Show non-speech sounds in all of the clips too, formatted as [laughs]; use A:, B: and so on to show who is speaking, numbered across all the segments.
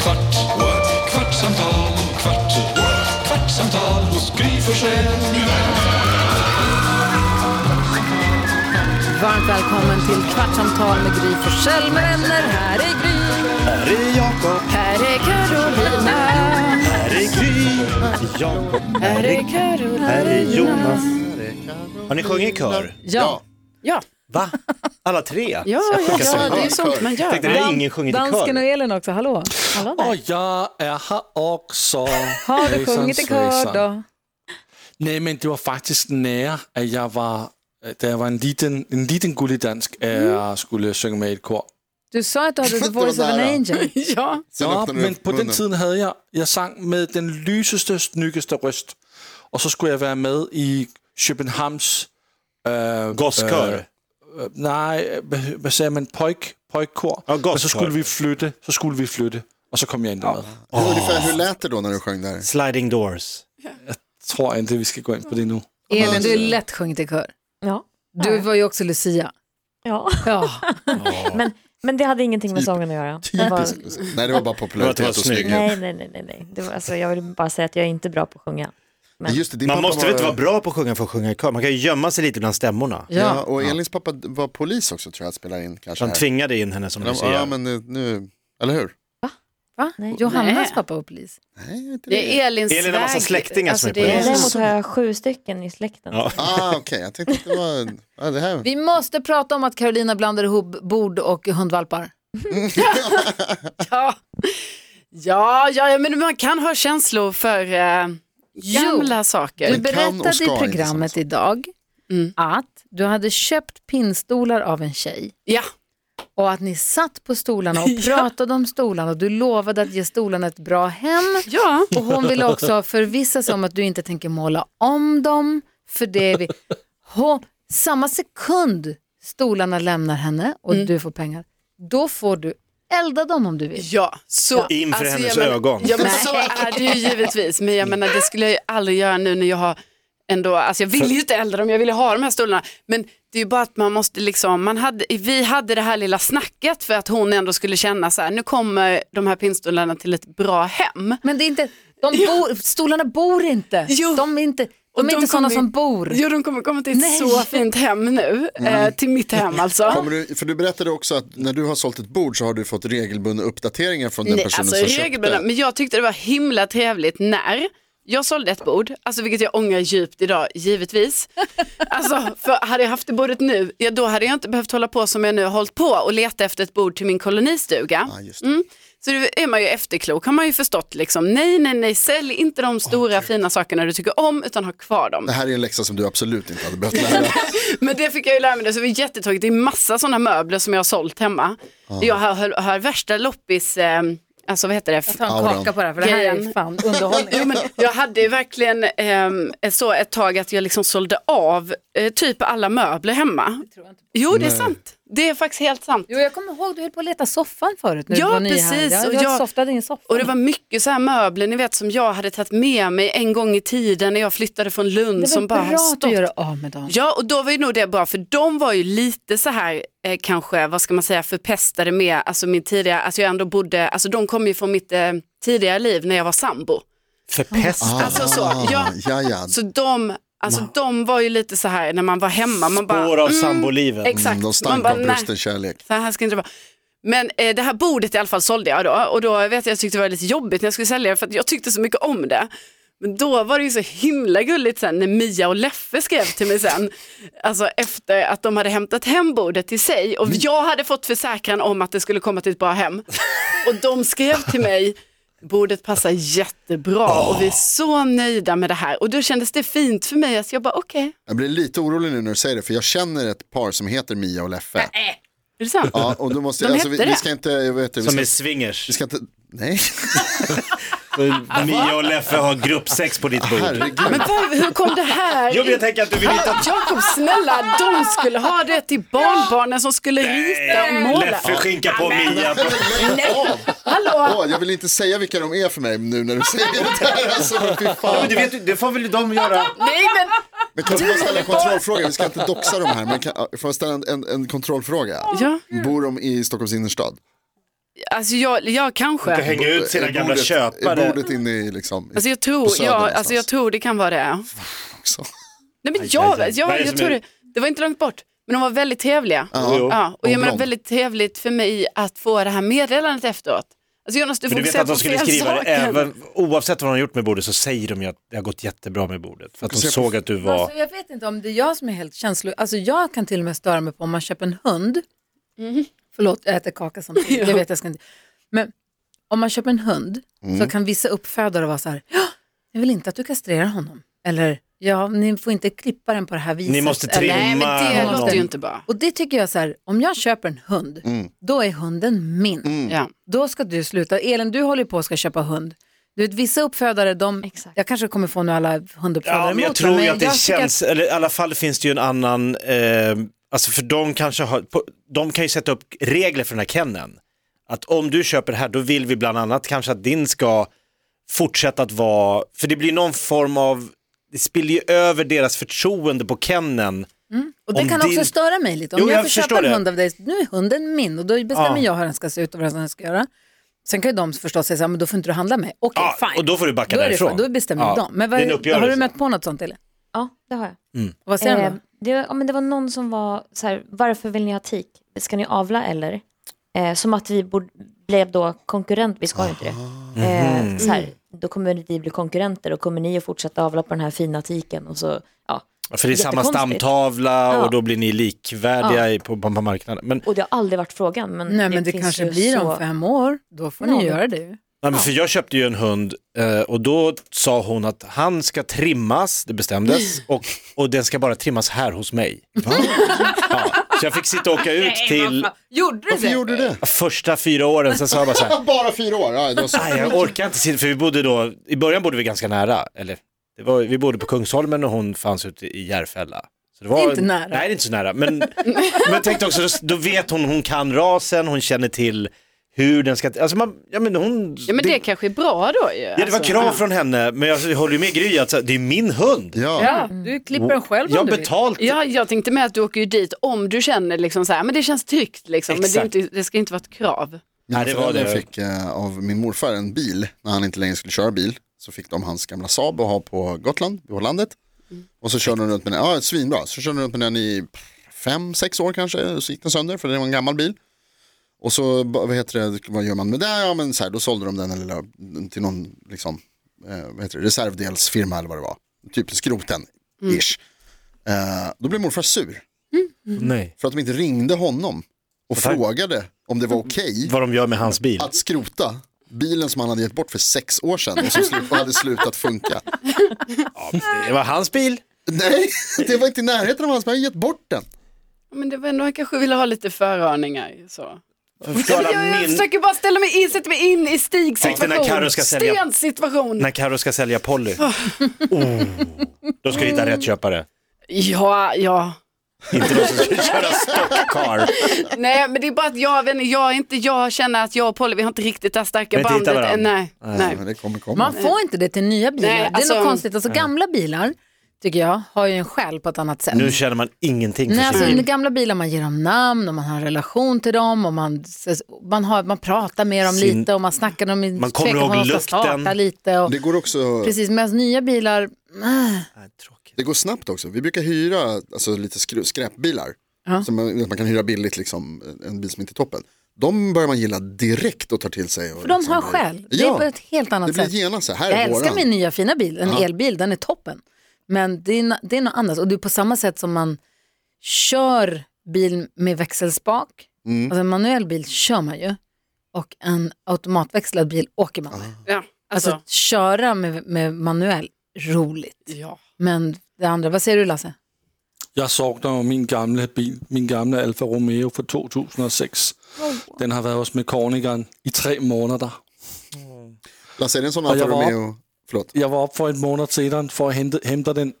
A: kvart, what? kvartsamtal, kvart, what? kvartsamtal hos Gry Forssell med vänner.
B: Varmt välkommen till Kvartsamtal med Gry Forssell med vänner. Här är Gry.
C: Här är Jakob,
B: Här är Carolina.
C: här är Gry, Jakob,
B: Här är Carolina.
C: här är Jonas. Har ni sjungit i kör?
B: Ja. Ja.
C: Va? Alla tre?
B: Ja, ja, ja, det är ju sånt man
C: Jag tänkte,
B: gör.
C: det har ingen sjungit i
D: Dansken och
C: kör.
D: Elin också, hallå.
E: Och jag är här också.
D: [laughs] Har du
E: Hejsan,
D: sjungit i kör
E: svejsan.
D: då?
E: Nej, men det var faktiskt nära att jag var, da jag var en liten, en liten gullig dansk, att jag skulle sjunga med i ett kor.
D: Mm. Du sa att du hade The
F: Det var
D: Voice of an
F: nära.
D: Angel.
B: Ja.
F: Sen
E: Ja,
F: öppnade du
E: men
F: upp
E: på den
F: munnen.
E: tiden hade jag, jag sang med den lyseste, snyggaste röst. Och så skulle jag vara med i Köpenhamns... Äh,
C: Gosskör.
E: nej, vad, vad säger man? Pojk, pojkkor.
C: Ja,
E: Och så skulle
C: gosskör.
E: vi flytta, så skulle vi flytta. Och så kom jag inte med.
F: Hur, ungefär, hur lät det då när du sjöng där?
C: Sliding Doors.
E: Tror inte vi ska gå in på det nu.
B: Elin, du är lätt sjungit i kör.
G: Ja.
B: Du var ju också Lucia.
G: ja.
B: Ja.
G: [laughs] Men, men det hade ingenting med sången att göra. Det var,
F: Typiskt. Nej, det var bara
C: Det var
F: popularitet och
C: snygg.
F: snygghet.
G: nej, nej, nej. nej, nej. Det var, alltså, jag vill bara säga att jag är inte bra på att sjunga.
F: Men Just det, din
C: Man
F: pappa
C: måste väl inte vara bra på att sjunga för att sjunga i kör? Man kan ju gömma sig lite bland stämmorna.
F: Ja,
B: ja.
F: och Elins pappa var polis också tror jag att spela in kanske.
C: De
F: här.
C: tvingade in henne som
F: De- Ja,
C: Lucia.
F: men nu- nu, eller hur?
B: Va?
G: Nej.
B: Johannas
H: Nej.
B: pappa var polis.
F: Nej, inte det.
H: Det är Elins
C: Elin har massa
H: väg.
C: släktingar
H: Alltså,
C: som är
B: det
C: polis.
G: Däremot har jag sju stycken i släkten.
C: Ja.
F: Ah, okej, jag tänkte att det var, ja, det här.
B: Vi måste prata om att Carolina blandar ihop bord och
C: [laughs]
B: hundvalpar.
H: Ja. Ja, ja, ja, men man kan ha känslor för eh, gamla saker.
B: Du
F: Men kan och
B: berättade
F: ska
C: liksom.
B: i
F: inte
B: programmet
F: sånt.
B: idag
H: Mm.
B: att du hade köpt pinnstolar av en tjej
H: Ja,
B: och att ni satt på stolarna och
H: [laughs] Ja.
B: pratade om stolarna och du lovade att ge stolarna ett bra hem.
H: ja.
B: Och hon ville också förvissa sig om att du inte tänker måla om dem. För det vi... Hon, samma sekund stolarna lämnar henne och
H: Mm.
B: du får pengar, då får du elda dem om du vill.
H: ja. Så,
C: In för hennes
H: jag men-
C: ögon.
H: Ja, men så är det ju givetvis. Men jag menar, det skulle jag ju aldrig göra nu när jag har ändå, alltså jag vill ju inte äldra dem, jag vill ju ha de här stolarna. Men det är ju bara att man måste liksom, man hade, vi hade det här lilla snacket för att hon ändå skulle känna så här, nu kommer de här pinnstolarna till ett bra hem.
B: Men det är inte, de bor, stolarna bor inte.
H: Jo.
B: De är inte,
H: Och
B: de är
H: de
B: inte sådana
H: kommer-
B: som bor.
H: Jo, de kommer komma till ett
B: Nej.
H: så fint hem nu. Eh, till mitt hem alltså.
F: Kommer du, för du berättade också att när du har sålt ett bord så har du fått regelbundna uppdateringar från den
H: Nej,
F: personen
H: alltså
F: som köpte.
H: regelbundna, men jag tyckte det var himla trevligt när jag sålde ett bord, alltså vilket jag ångrar djupt idag,
F: [laughs]
H: givetvis. Alltså, för hade jag haft det bordet nu, ja, då hade jag inte behövt hålla på som jag nu har hållit på och leta efter ett bord till min kolonistuga.
F: Ja, Ah, just det.
H: Mm. Så då är man ju efterklok, har man ju förstått liksom, nej, nej, nej, sälj inte de stora fina sakerna du tycker om, utan ha kvar dem.
F: Det här är en läxa som du absolut inte hade behövt lära.
H: [laughs] Men det fick jag ju lära mig, det, så det var jättetråkigt. Det är massa sådana möbler som jag har sålt hemma.
F: Ah.
H: Jag har, har, har värsta loppis, eh, alltså vad heter det?
B: Ta en
F: Auran.
B: kaka på det här, för det här är
H: Grejen.
B: fan underhållning.
H: Jo, men jag hade ju verkligen ehm, så ett tag att jag liksom sålde av eh, typ alla möbler hemma. Jo, det är sant. Det är faktiskt helt sant.
B: Jo, jag kommer ihåg, du höll på att leta soffan förut. Nu
H: Ja,
B: var ni
H: precis,
B: Här. Jag,
H: och
B: jag,
H: jag-
B: softade in soffan.
H: Och det var mycket så här möbler, ni vet som jag hade tagit med mig en gång i tiden när jag flyttade från Lund.
B: Det är
H: som
B: väl
H: bara har
B: bra att du
H: stått.
B: gör av med dem.
H: Ja, och då var ju nog det bra, för de var ju lite så här, eh, kanske, vad ska man säga, förpestade med, alltså min tidiga, alltså jag ändå bodde, alltså de kom ju från mitt eh, tidigare liv när jag var sambo.
C: Förpestad.
H: Alltså så, ja.
F: Ah, ja, ja. Mm,
H: Så de, alltså de var ju lite så här när man var hemma, man bara,
C: Spår av
H: mm,
C: sambolivet.
H: Exakt,
F: Mm, de
H: man
F: stank
H: bara
F: av
H: nej,
F: brusten kärlek.
H: så här ska det inte vara. Men eh, det här bordet i alla fall sålde jag då och då vet jag, jag tyckte det var lite jobbigt när jag skulle sälja det för att jag tyckte så mycket om det. Men då var det ju så himla gulligt sen när Mia och Leffe skrev till mig sen, [laughs] alltså efter att de hade hämtat hem bordet till sig
C: Mm.
H: och jag hade fått försäkran om att det skulle komma till ett
C: [laughs]
H: bra hem. Och de skrev till mig, bordet passar jättebra och vi är så nöjda med det här. Och då kändes det fint för mig, så jag bara okej,
F: Jag blir lite orolig nu när du säger det, för jag känner ett par som heter Mia och Leffe.
H: är det sant?
F: Ja, och då måste,
H: De
F: alltså, vi,
H: hette
F: vi
H: det.
F: ska inte, jag vet, inte, vi
C: Som
F: ska,
C: är swingers.
F: vi ska inte, nej.
C: Och Mia och Leffe har gruppsex på ditt bord.
F: Herregud.
I: Ah, Men vad- hur kom det här
C: Jo, men jag tänker att du vill inte att
I: Jakob snälla, de skulle ha det till barnbarnen som skulle rita och måla.
C: Leffe skinkar på Mia.
I: Hallå!
F: [laughs] Åh, jag vill inte säga vilka de är för mig nu när du säger det där. Alltså, fy
C: Ja,
F: fan.
C: men du vet, det får väl de göra.
I: Nej men
F: Men kan man ställa en kontrollfråga? Vi ska inte doxa de här, men kan, får jag ställa en, en, en kontrollfråga?
I: Ja.
F: Bor de i Stockholms innerstad?
I: alltså jag, jag
C: Att
I: kanske.
C: hänga ut sina
F: Är
C: gamla
F: bordet- Är
C: köpare.
F: bordet inne i liksom... i-
I: Alltså jag
F: på
I: tror,
F: Söder
I: ja,
F: någonstans?
I: alltså jag tror det kan vara det.
F: också.
I: Nej men
C: aj, aj.
I: jag,
C: Vad är
I: jag,
C: det
I: jag
C: som
I: tror
C: är-
I: det, det var inte långt bort. Men de var väldigt trevliga.
C: Jo.
I: Ja, och jag menar
F: blond.
I: väldigt trevligt för mig att få det här meddelandet efteråt. Alltså Jonas, du
C: Men du vet
I: fokuserar
C: att
I: på
C: de skulle
I: fel
C: skriva det
I: saker.
C: även, oavsett vad de har gjort med bordet så säger de ju att det har gått jättebra med bordet. För att de
F: Fokusera på-
C: såg att du var...
H: Alltså, jag vet inte om det är jag som är helt känslig. Alltså, jag kan till och med störa mig på om man köper en hund.
C: Mm.
H: Förlåt, jag äter
C: [laughs]
H: kaka samtidigt. Det vet jag ska inte. Men om man köper en hund
C: Mm.
H: så kan vissa uppfödare vara så här, ja, jag vill inte att du kastrerar honom. Eller, ja, ni får inte klippa den på det här viset.
C: Ni måste
H: Eller-
I: Nej men det
C: Trimma
I: låter ju
C: honom.
I: inte bra.
H: Och det tycker jag så här, om jag köper en hund,
C: Mm.
H: då är hunden min.
I: Ja.
H: Då ska du sluta. Elin, du håller ju på att ska köpa hund. Du vet, vissa uppfödare, de,
G: Exakt.
H: jag kanske kommer få nu alla hunduppfödare
C: Ja, men jag
H: emot
C: tror
H: mig,
C: ju att det
H: tycker
C: känns, eller i alla fall finns det ju en annan, eh, alltså för de kanske har, på, de kan ju sätta upp regler för den här kenneln. Att om du köper det här, då vill vi bland annat kanske att din ska fortsätta att vara, för det blir någon form av, det spiller ju över deras förtroende på kenneln.
H: Och det
C: Om
H: kan
C: din-
H: också störa mig lite. Om
C: Jo,
H: jag,
C: jag
H: får köpa
C: förstår
H: en
C: det.
H: hund av dig, nu är hunden min och då bestämmer
C: Ja.
H: jag hur den ska se ut och vad den ska göra. Sen kan ju de förstås säga så här, men då får inte du handla med. Okej,
C: Ja,
H: fine.
C: och då får du backa
H: Då är det
C: därifrån.
H: fine, Då bestämmer
C: Ja,
H: de. Men
C: det är en
H: vad,
C: uppgörelse.
H: har du mött på något sånt eller?
G: Ja, det har jag.
H: Och vad säger de
G: Eh,
H: då?
G: det, ja, men det var någon som var så här, varför vill ni ha tik? Ska ni avla eller? Eh, som att vi borde, blev då konkurrent, vi ska ju inte det. Eh, så här, då kommer vi bli konkurrenter och kommer ni att fortsätta avla på den här fina tiken och så, ja.
C: För det är samma
G: Jättekonstigt.
C: stamtavla
G: Ja.
C: och då blir ni likvärdiga i på, på, på marknaden. Men,
G: Och det har aldrig varit frågan. Men
H: Nej men det,
G: finns
H: kanske
G: ju
H: blir
G: så...
H: om fem år, då får
G: Ja,
H: ni
G: men-
H: göra det.
C: nej, men för jag köpte ju en hund eh, och då sa hon att han ska trimmas, det bestämdes, och, och den ska bara trimmas här hos mig. Ja, så jag fick sitta
H: [laughs]
C: och åka ut till
H: Gjorde
F: Varför gjorde du det?
C: första fyra åren, sen sa jag bara så här,
F: Bara fyra år? Ja, det var så.
C: nej
H: [laughs]
C: jag orkar inte sitta, för vi bodde då, i början bodde vi ganska nära, eller det var, vi bodde på Kungsholmen och hon fanns ute i Järfälla. Så det var,
H: Det är inte nära.
C: Nej, det är inte så nära.
H: [laughs]
C: Men, men jag tänkte också, då, då vet hon, hon kan rasen, hon känner till hur den ska, alltså man, ja men hon,
I: ja men det, kanske är bra då ju. Alltså.
C: Ja, det
H: Alltså,
C: var krav från henne, men jag håller ju med Gry att så här, det är min hund.
F: Ja.
H: Ja, du klipper den själv om
C: Jag har
H: du vill.
C: betalt.
I: Ja, jag tänkte med att du åker ju dit om du känner liksom så här, men det känns tryggt liksom, men det, är
C: Exakt.
I: inte, det ska inte vara ett krav.
F: Mina
C: Nej, det var
F: föräldrar
C: det.
F: fick eh, av min morfar en bil när han inte längre skulle köra bil. Så fick de hans gamla Saab och ha på Gotland, på landet. Och så körde de runt med den, ja svinbra, så körde de runt med den i pff, fem, sex år kanske. Och så gick den sönder för det var en gammal bil. Och så, ba- vad heter det, vad gör man med det? Ja men så här, då sålde de den här lilla, till någon liksom, eh, vad heter det, reservdelsfirma eller vad det var. Typ skroten,
C: Mm.
F: ish. Eh, då blev morfar sur
C: Nej.
F: för att de inte ringde honom och frågade om det var okej
C: Vad de gör med hans bil.
F: att skrota bilen som han hade gett bort för sex år sedan och som slut, och hade slutat funka.
C: Det var hans bil.
F: Nej, det var inte i närheten av hans, men han hade gett bort den.
I: Men det var ändå, jag kanske ville ha lite föraningar. Så.
C: Förklara
I: Jag
C: min...
I: försöker bara ställa mig in, sätta mig in i Stigs
C: Tänk dig när Karo
I: situation.
C: ska sälja-
I: Stens situation.
C: När Karo ska sälja Polly. Oh. Då ska du hitta rätt köpare.
I: Ja, ja.
C: Inte de som ska köra stockcar.
I: Nej, men det är bara att jag, vet inte, jag, är inte, jag känner att jag och Polly, vi har inte riktigt det här starka
C: Vi har inte
I: bandet.
C: hittat varandra.
I: Nej, nej.
F: Men det kommer komma.
H: Man får inte det till nya bilar.
I: Nej,
H: det är
I: alltså-
H: något konstigt, alltså gamla bilar tycker jag har ju en själ på ett annat sätt.
C: Nu känner man ingenting
H: Nej,
C: för
H: alltså,
C: sin bil.
H: med gamla bilar man ger dem namn och man har en relation till dem och man, man, har, man pratar med dem
C: Sin-
H: lite och man snackar med dem
C: Man kommer
H: tvekar om
C: ihåg
H: de ska
C: lukten.
H: starta lite. Och,
F: Det går också,
H: Precis, medan nya bilar, äh,
C: Nej, tråkigt.
F: det går snabbt också. Vi brukar hyra alltså, lite skru- skräpbilar.
H: Ja.
F: Så man, man kan hyra billigt liksom, en bil som inte är toppen. De börjar man gilla direkt och tar till sig. Och
H: för de
F: liksom
H: har
F: blir-
H: själ. Det är
F: Ja,
H: på ett helt
F: det
H: annat
F: blir
H: sätt.
F: genast så här,
H: Jag
F: här är
H: älskar
F: våran.
H: min nya fina bil, en
F: Ja.
H: elbil, den är toppen. Men det är, na- det är något annat och det är på samma sätt som man kör bil med växelspak,
F: Mm.
H: alltså en manuell bil kör man ju och en automatväxlad bil åker man med.
I: Ja, alltså,
H: Alltså, att köra med, med manuell, roligt.
I: ja.
H: Men det andra, vad säger du Lasse?
E: Jeg savner jo min gamle bil, min gamle Alfa Romeo fra 2006. Den har været hos mekanikeren i tre måneder.
F: Lasse, är det en sån
E: Och
F: Alfa
E: jag var-
F: Romeo? Förlåt.
E: Jeg var oppe for et måned senere for at hente, hente den,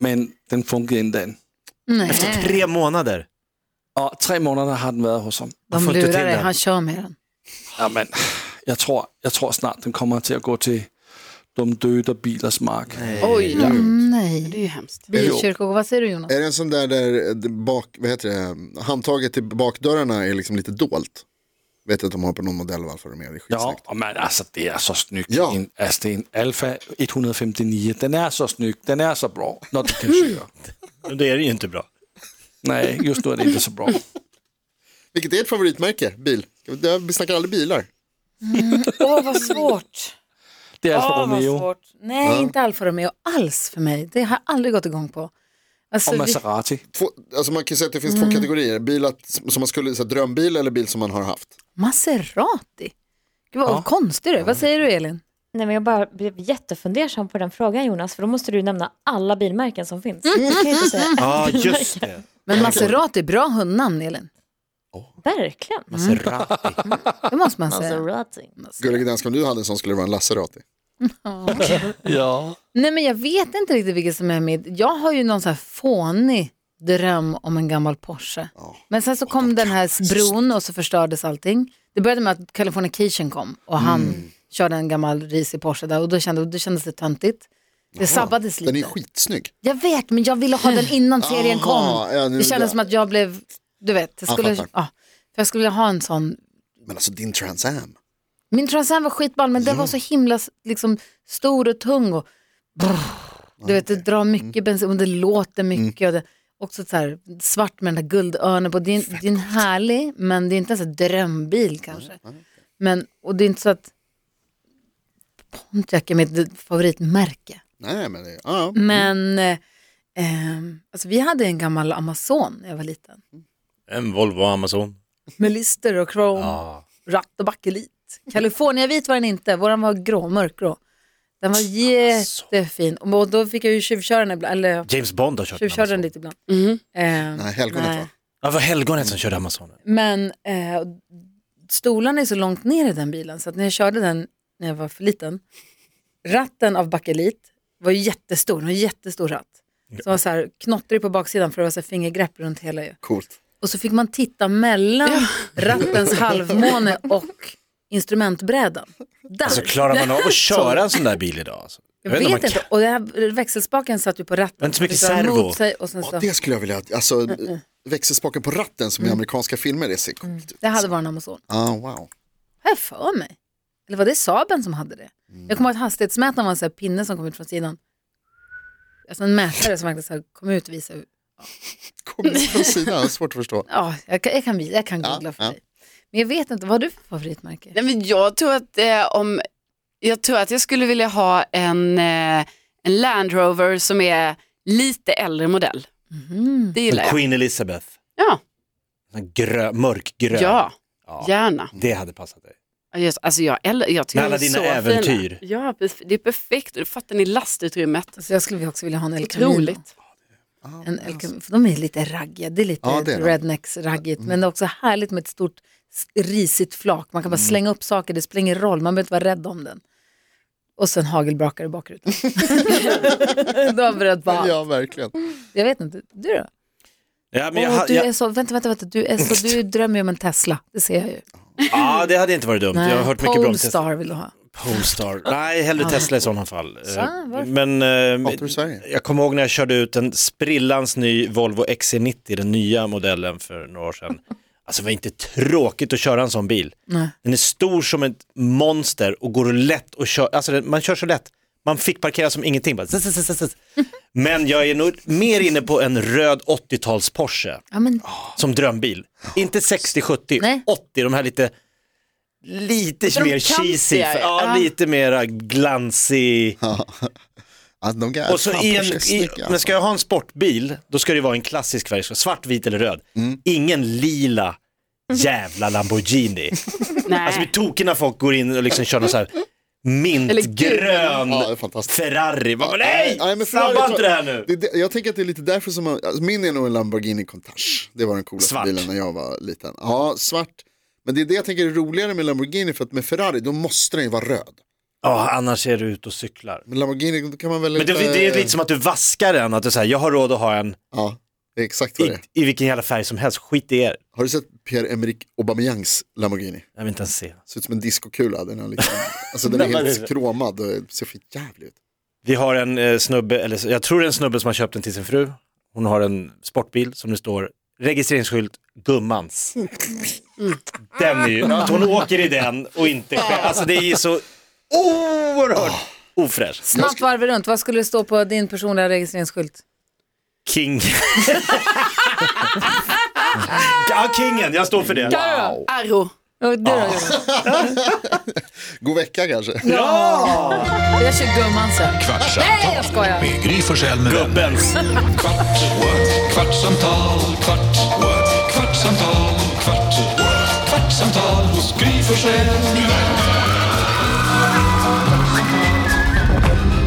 E: men den fungerede ikke den.
H: Nej,
C: Tre månader.
E: Og tre måneder har den været hos ham.
C: har
H: de
C: fått det
H: lurar
C: till
H: dig,
C: den.
H: han kör med den.
E: Jamen, jeg tror, jeg tror snart, den kommer til at gå til de døde bilers mark.
I: Oj,
H: Mm,
I: det
H: nej.
I: är ju hemskt.
H: Bilkyrkogård, vad säger du Jonas?
F: Är det en sån där där det bak, vad heter det, handtaget till bakdörrarna är liksom lite dolt? Vet att de har på någon modell av Alfa Romeo, det är
E: Ja,
F: skitsnyggt.
E: og man, altså, det er så snygt.
F: Ja.
E: En, altså, det er en Alfa 159. Den er så snygt. Den er så bra, når du kan køre.
C: Det är ju inte bra.
E: Nej, just nu er det ikke så bra.
F: Vilket är ert favoritmärke, bil? Ska vi- där- Vi snackar aldrig bilar.
I: [laughs]
H: Åh, vad svårt.
E: Det er Alfa
H: Åh, vad
E: Romeo
H: svårt. Nej, inte Alfa Romeo alls för mig. Det har jag aldrig gått igång på. Alltså,
E: og
H: vi-
E: Maserati.
F: Två, alltså man kan ju säga att det finns
H: Mm.
F: två kategorier, bil att, som man skulle, så här, drömbil eller bil som man har haft.
H: Maserati. Gud vad
E: Ja.
H: konstig du är. Vad säger du Elin?
G: Nej, men jag bara blev jättefundersam på den frågan Jonas, för då måste du nämna alla bilmärken som finns. Du kan ju inte säga
C: Ja, just det.
H: Men Maserati är bra hundnamn Elin.
G: verkligen.
C: Maserati.
H: Det måste
F: Alltså,
H: man säga.
G: Maserati.
F: Gullige Dansk, om du hade en sån skulle det vara en Lacerati.
E: Ja.
H: Nej men jag vet inte riktigt vilket som är mitt. Jag har ju någon sån här fånig dröm om en gammal Porsche. Men sen så kom den här bron och så förstördes allting. Det började med att Californication kom och han
F: Mm.
H: körde en gammal risig Porsche där och då, kände, då kändes det töntigt. Det sabbades
F: Den är
H: lite.
F: skitsnygg.
H: Jag vet men jag ville ha den innan serien kom.
F: Aha, ja, nu-
H: Det kändes som att jag blev, du vet, jag
F: Jag
H: skulle,
F: fattar.
H: ja, för jag skulle vilja ha en sån
F: Men alltså din Trans Am.
H: min Trans Am var skitball men den var så himla s- liksom, stor och tung och brr, du vet, det drar mycket bensin och det låter mycket. Och det, också så här, svart med den där guldörnen på. Det är, en, det är en härlig men det är inte ens en drömbil kanske. Men, och det är inte så att Pontiac är mitt favoritmärke.
F: Nej, men det, ja, ja.
H: Men eh, ehm, alltså, vi hade en gammal Amazon när jag var liten.
C: En Volvo Amazon.
H: Med lister och krom, ratt och bakelit. Californiavit var den inte, våran var grå, mörkgrå. Den var jättefin. Och då fick jag ju tjuvköra den ibland, eller
C: James Bond har kört en
H: tjuvköra den
C: Amazon.
H: lite ibland.
I: Mhm.
H: Eh,
F: Nej, helgonet
H: nej.
F: va?
C: Ja, det var helgonet som körde Amazonen.
H: Men eh, stolarna är så långt ner i den bilen så att när jag körde den när jag var för liten, ratten av bakelit var ju jättestor, den var en jättestor ratt. Som var så här knottrig på baksidan för det var så här fingergrepp runt hela ju.
F: Coolt.
H: Och så fick man titta mellan
F: [laughs]
H: rattens halvmåne och instrumentbrädan. Där.
C: Alltså klarar man av att köra en sån där bil idag? Alltså?
H: Jag
C: om man
H: vet
C: kan-
H: inte. Och det här, växelspaken satt ju på ratten.
C: Det var inte så mycket
H: Det var
C: servo.
H: emot sig och sen
F: Ja,
H: så,
F: det skulle jag vilja, alltså växelspaken på ratten
H: Mm.
F: som i amerikanska filmer, det ser coolt ut.
H: det hade varit en Amazon.
F: Ah, wow.
H: Har jag för mig? Eller var det Saben som hade det? Jag kommer ihåg att hastighetsmätaren var en sån här pinne som kom ut från sidan. Alltså en mätare som verkligen så här kom ut och visade. hur-
F: Coolt
H: [laughs]
F: från sidan, svårt att förstå.
H: Ja, jag kan, jag kan, visa- jag kan
F: Ja,
H: googla för
F: ja.
H: dig. Men jag vet inte, vad har du för favoritmärke?
I: Nej, men jag, tror att, eh, om, jag tror att jag skulle vilja ha en, eh, en Land Rover som är lite äldre modell.
H: Mm.
I: Det gillar jag.
C: Queen Elizabeth.
I: Ja,
C: En grö, mörkgrön.
I: ja,
C: Ja,
I: gärna.
C: Det hade passat dig.
I: Ja, just- Alltså jag, äl- jag tycker
C: Med alla
I: de är
C: dina
I: så
C: äventyr.
I: Fina. Ja, precis. det är perfekt. Och Fattar ni lastutrymmet?
H: Så jag skulle också vilja ha en El Camino.
I: Otroligt.
F: Ah,
H: En El Camino, för de är lite raggiga, det är lite
F: Ja, det är de. Mm.
H: rednecks-raggigt. Men det är också härligt med ett stort s- risigt flak. Man kan bara
F: Mm.
H: slänga upp saker, det spelar ingen roll, man behöver inte vara rädd om den. Och sen hagelbrakare i [laughs] bakrutan. du har beredd på allt.
F: Ja, verkligen.
H: Jag vet inte, du då?
C: Ja, men
H: Åh,
C: jag, ha-
H: du
C: jag,
H: är så, vänta, vänta, vänta, du, är så, du drömmer ju om en Tesla, det ser jag ju.
C: ja, det hade inte varit dumt. jag har hört mycket bra om Tesla.
H: Polestar vill du ha.
C: Polestar. Nej, hellre Tesla i sådana fall. Eh,
H: varför?
C: Men eh,
F: Hatar du Sverige?
C: jag kommer ihåg när jag körde ut en sprillans ny Volvo XC90, den nya modellen för några år sedan. Alltså det var inte tråkigt att köra en sån bil.
H: Nej.
C: Den är stor som ett monster och går lätt att köra, alltså den- man kör så lätt. Man fick parkera som ingenting. Bara, zzz, zzz, zzz, zzz.
H: [laughs]
C: Men jag är nog mer inne på en röd 80-tals Porsche
H: Ja, men,
C: som drömbil. Inte 60, 70,
H: Nej.
C: 80, de här lite, lite
I: de
C: mer cheesy,
I: kantiga,
C: ja,
I: ja.
C: lite mera glansig.
F: Ja, de kan,
C: Och så
F: fan, alltså.
C: i en,
F: Porsche är
C: i,
F: snygga.
C: men ska jag ha en sportbil, då ska det vara en klassisk färg, så svart, vit eller röd.
F: Mm.
C: Ingen lila
I: Mhm. [laughs]
C: jävla Lamborghini.
I: Nej.
C: Alltså blir tokig när folk går in och liksom kör någon så här mintgrön
F: Ja, det är fantastiskt.
C: Ferrari. Man bara, nej,
F: Nej, men Ferrari
C: sabba
F: tror-
C: inte det här nu.
F: Det, är det, jag tänker att det är lite därför som, man- alltså, min är nog en Lamborghini Countach. Det var den coolaste
C: Svart.
F: bilen när jag var liten. Ja, svart. Men det är det jag tänker är roligare med Lamborghini för att med Ferrari då måste den ju vara röd.
C: Ja, annars är du ute och cyklar.
F: Men Lamborghini, då kan man väl
C: Men det, det är lite som att du vaskar en, att du säger jag har råd att ha en
F: Ja, det är exakt vad det
C: i,
F: är.
C: i vilken jävla färg som helst, skit i er.
F: Har du sett Pierre-Emerick Aubameyangs Lamborghini?
C: Jag vill inte ens se.
F: Ser ut som en discokula. Den är, liksom, alltså, den är helt kromad och ser för jävligt ut.
C: Vi har en eh, snubbe, eller så- jag tror det är en snubbe som har köpt den till sin fru. Hon har en sportbil som det står registreringsskylt gummans. Den är ju, att hon åker i den och inte själv. Alltså det är ju så oerhört ofräscht.
H: Snabbt varv runt, vad skulle det stå på din personliga registreringsskylt?
C: King. ja, kingen, jag står för det.
I: Arro.
H: Och du då, Jonas?
F: God vecka kanske.
H: Jag kör gumman sen. Nej, jag skojar.
A: Med Gry Forssell med vänner.
C: Gubbens.
A: Kvart, what? kvartsamtal, kvart, what? kvartsamtal, kvart, what? kvartsamtal hos Gry Forssell med vänner.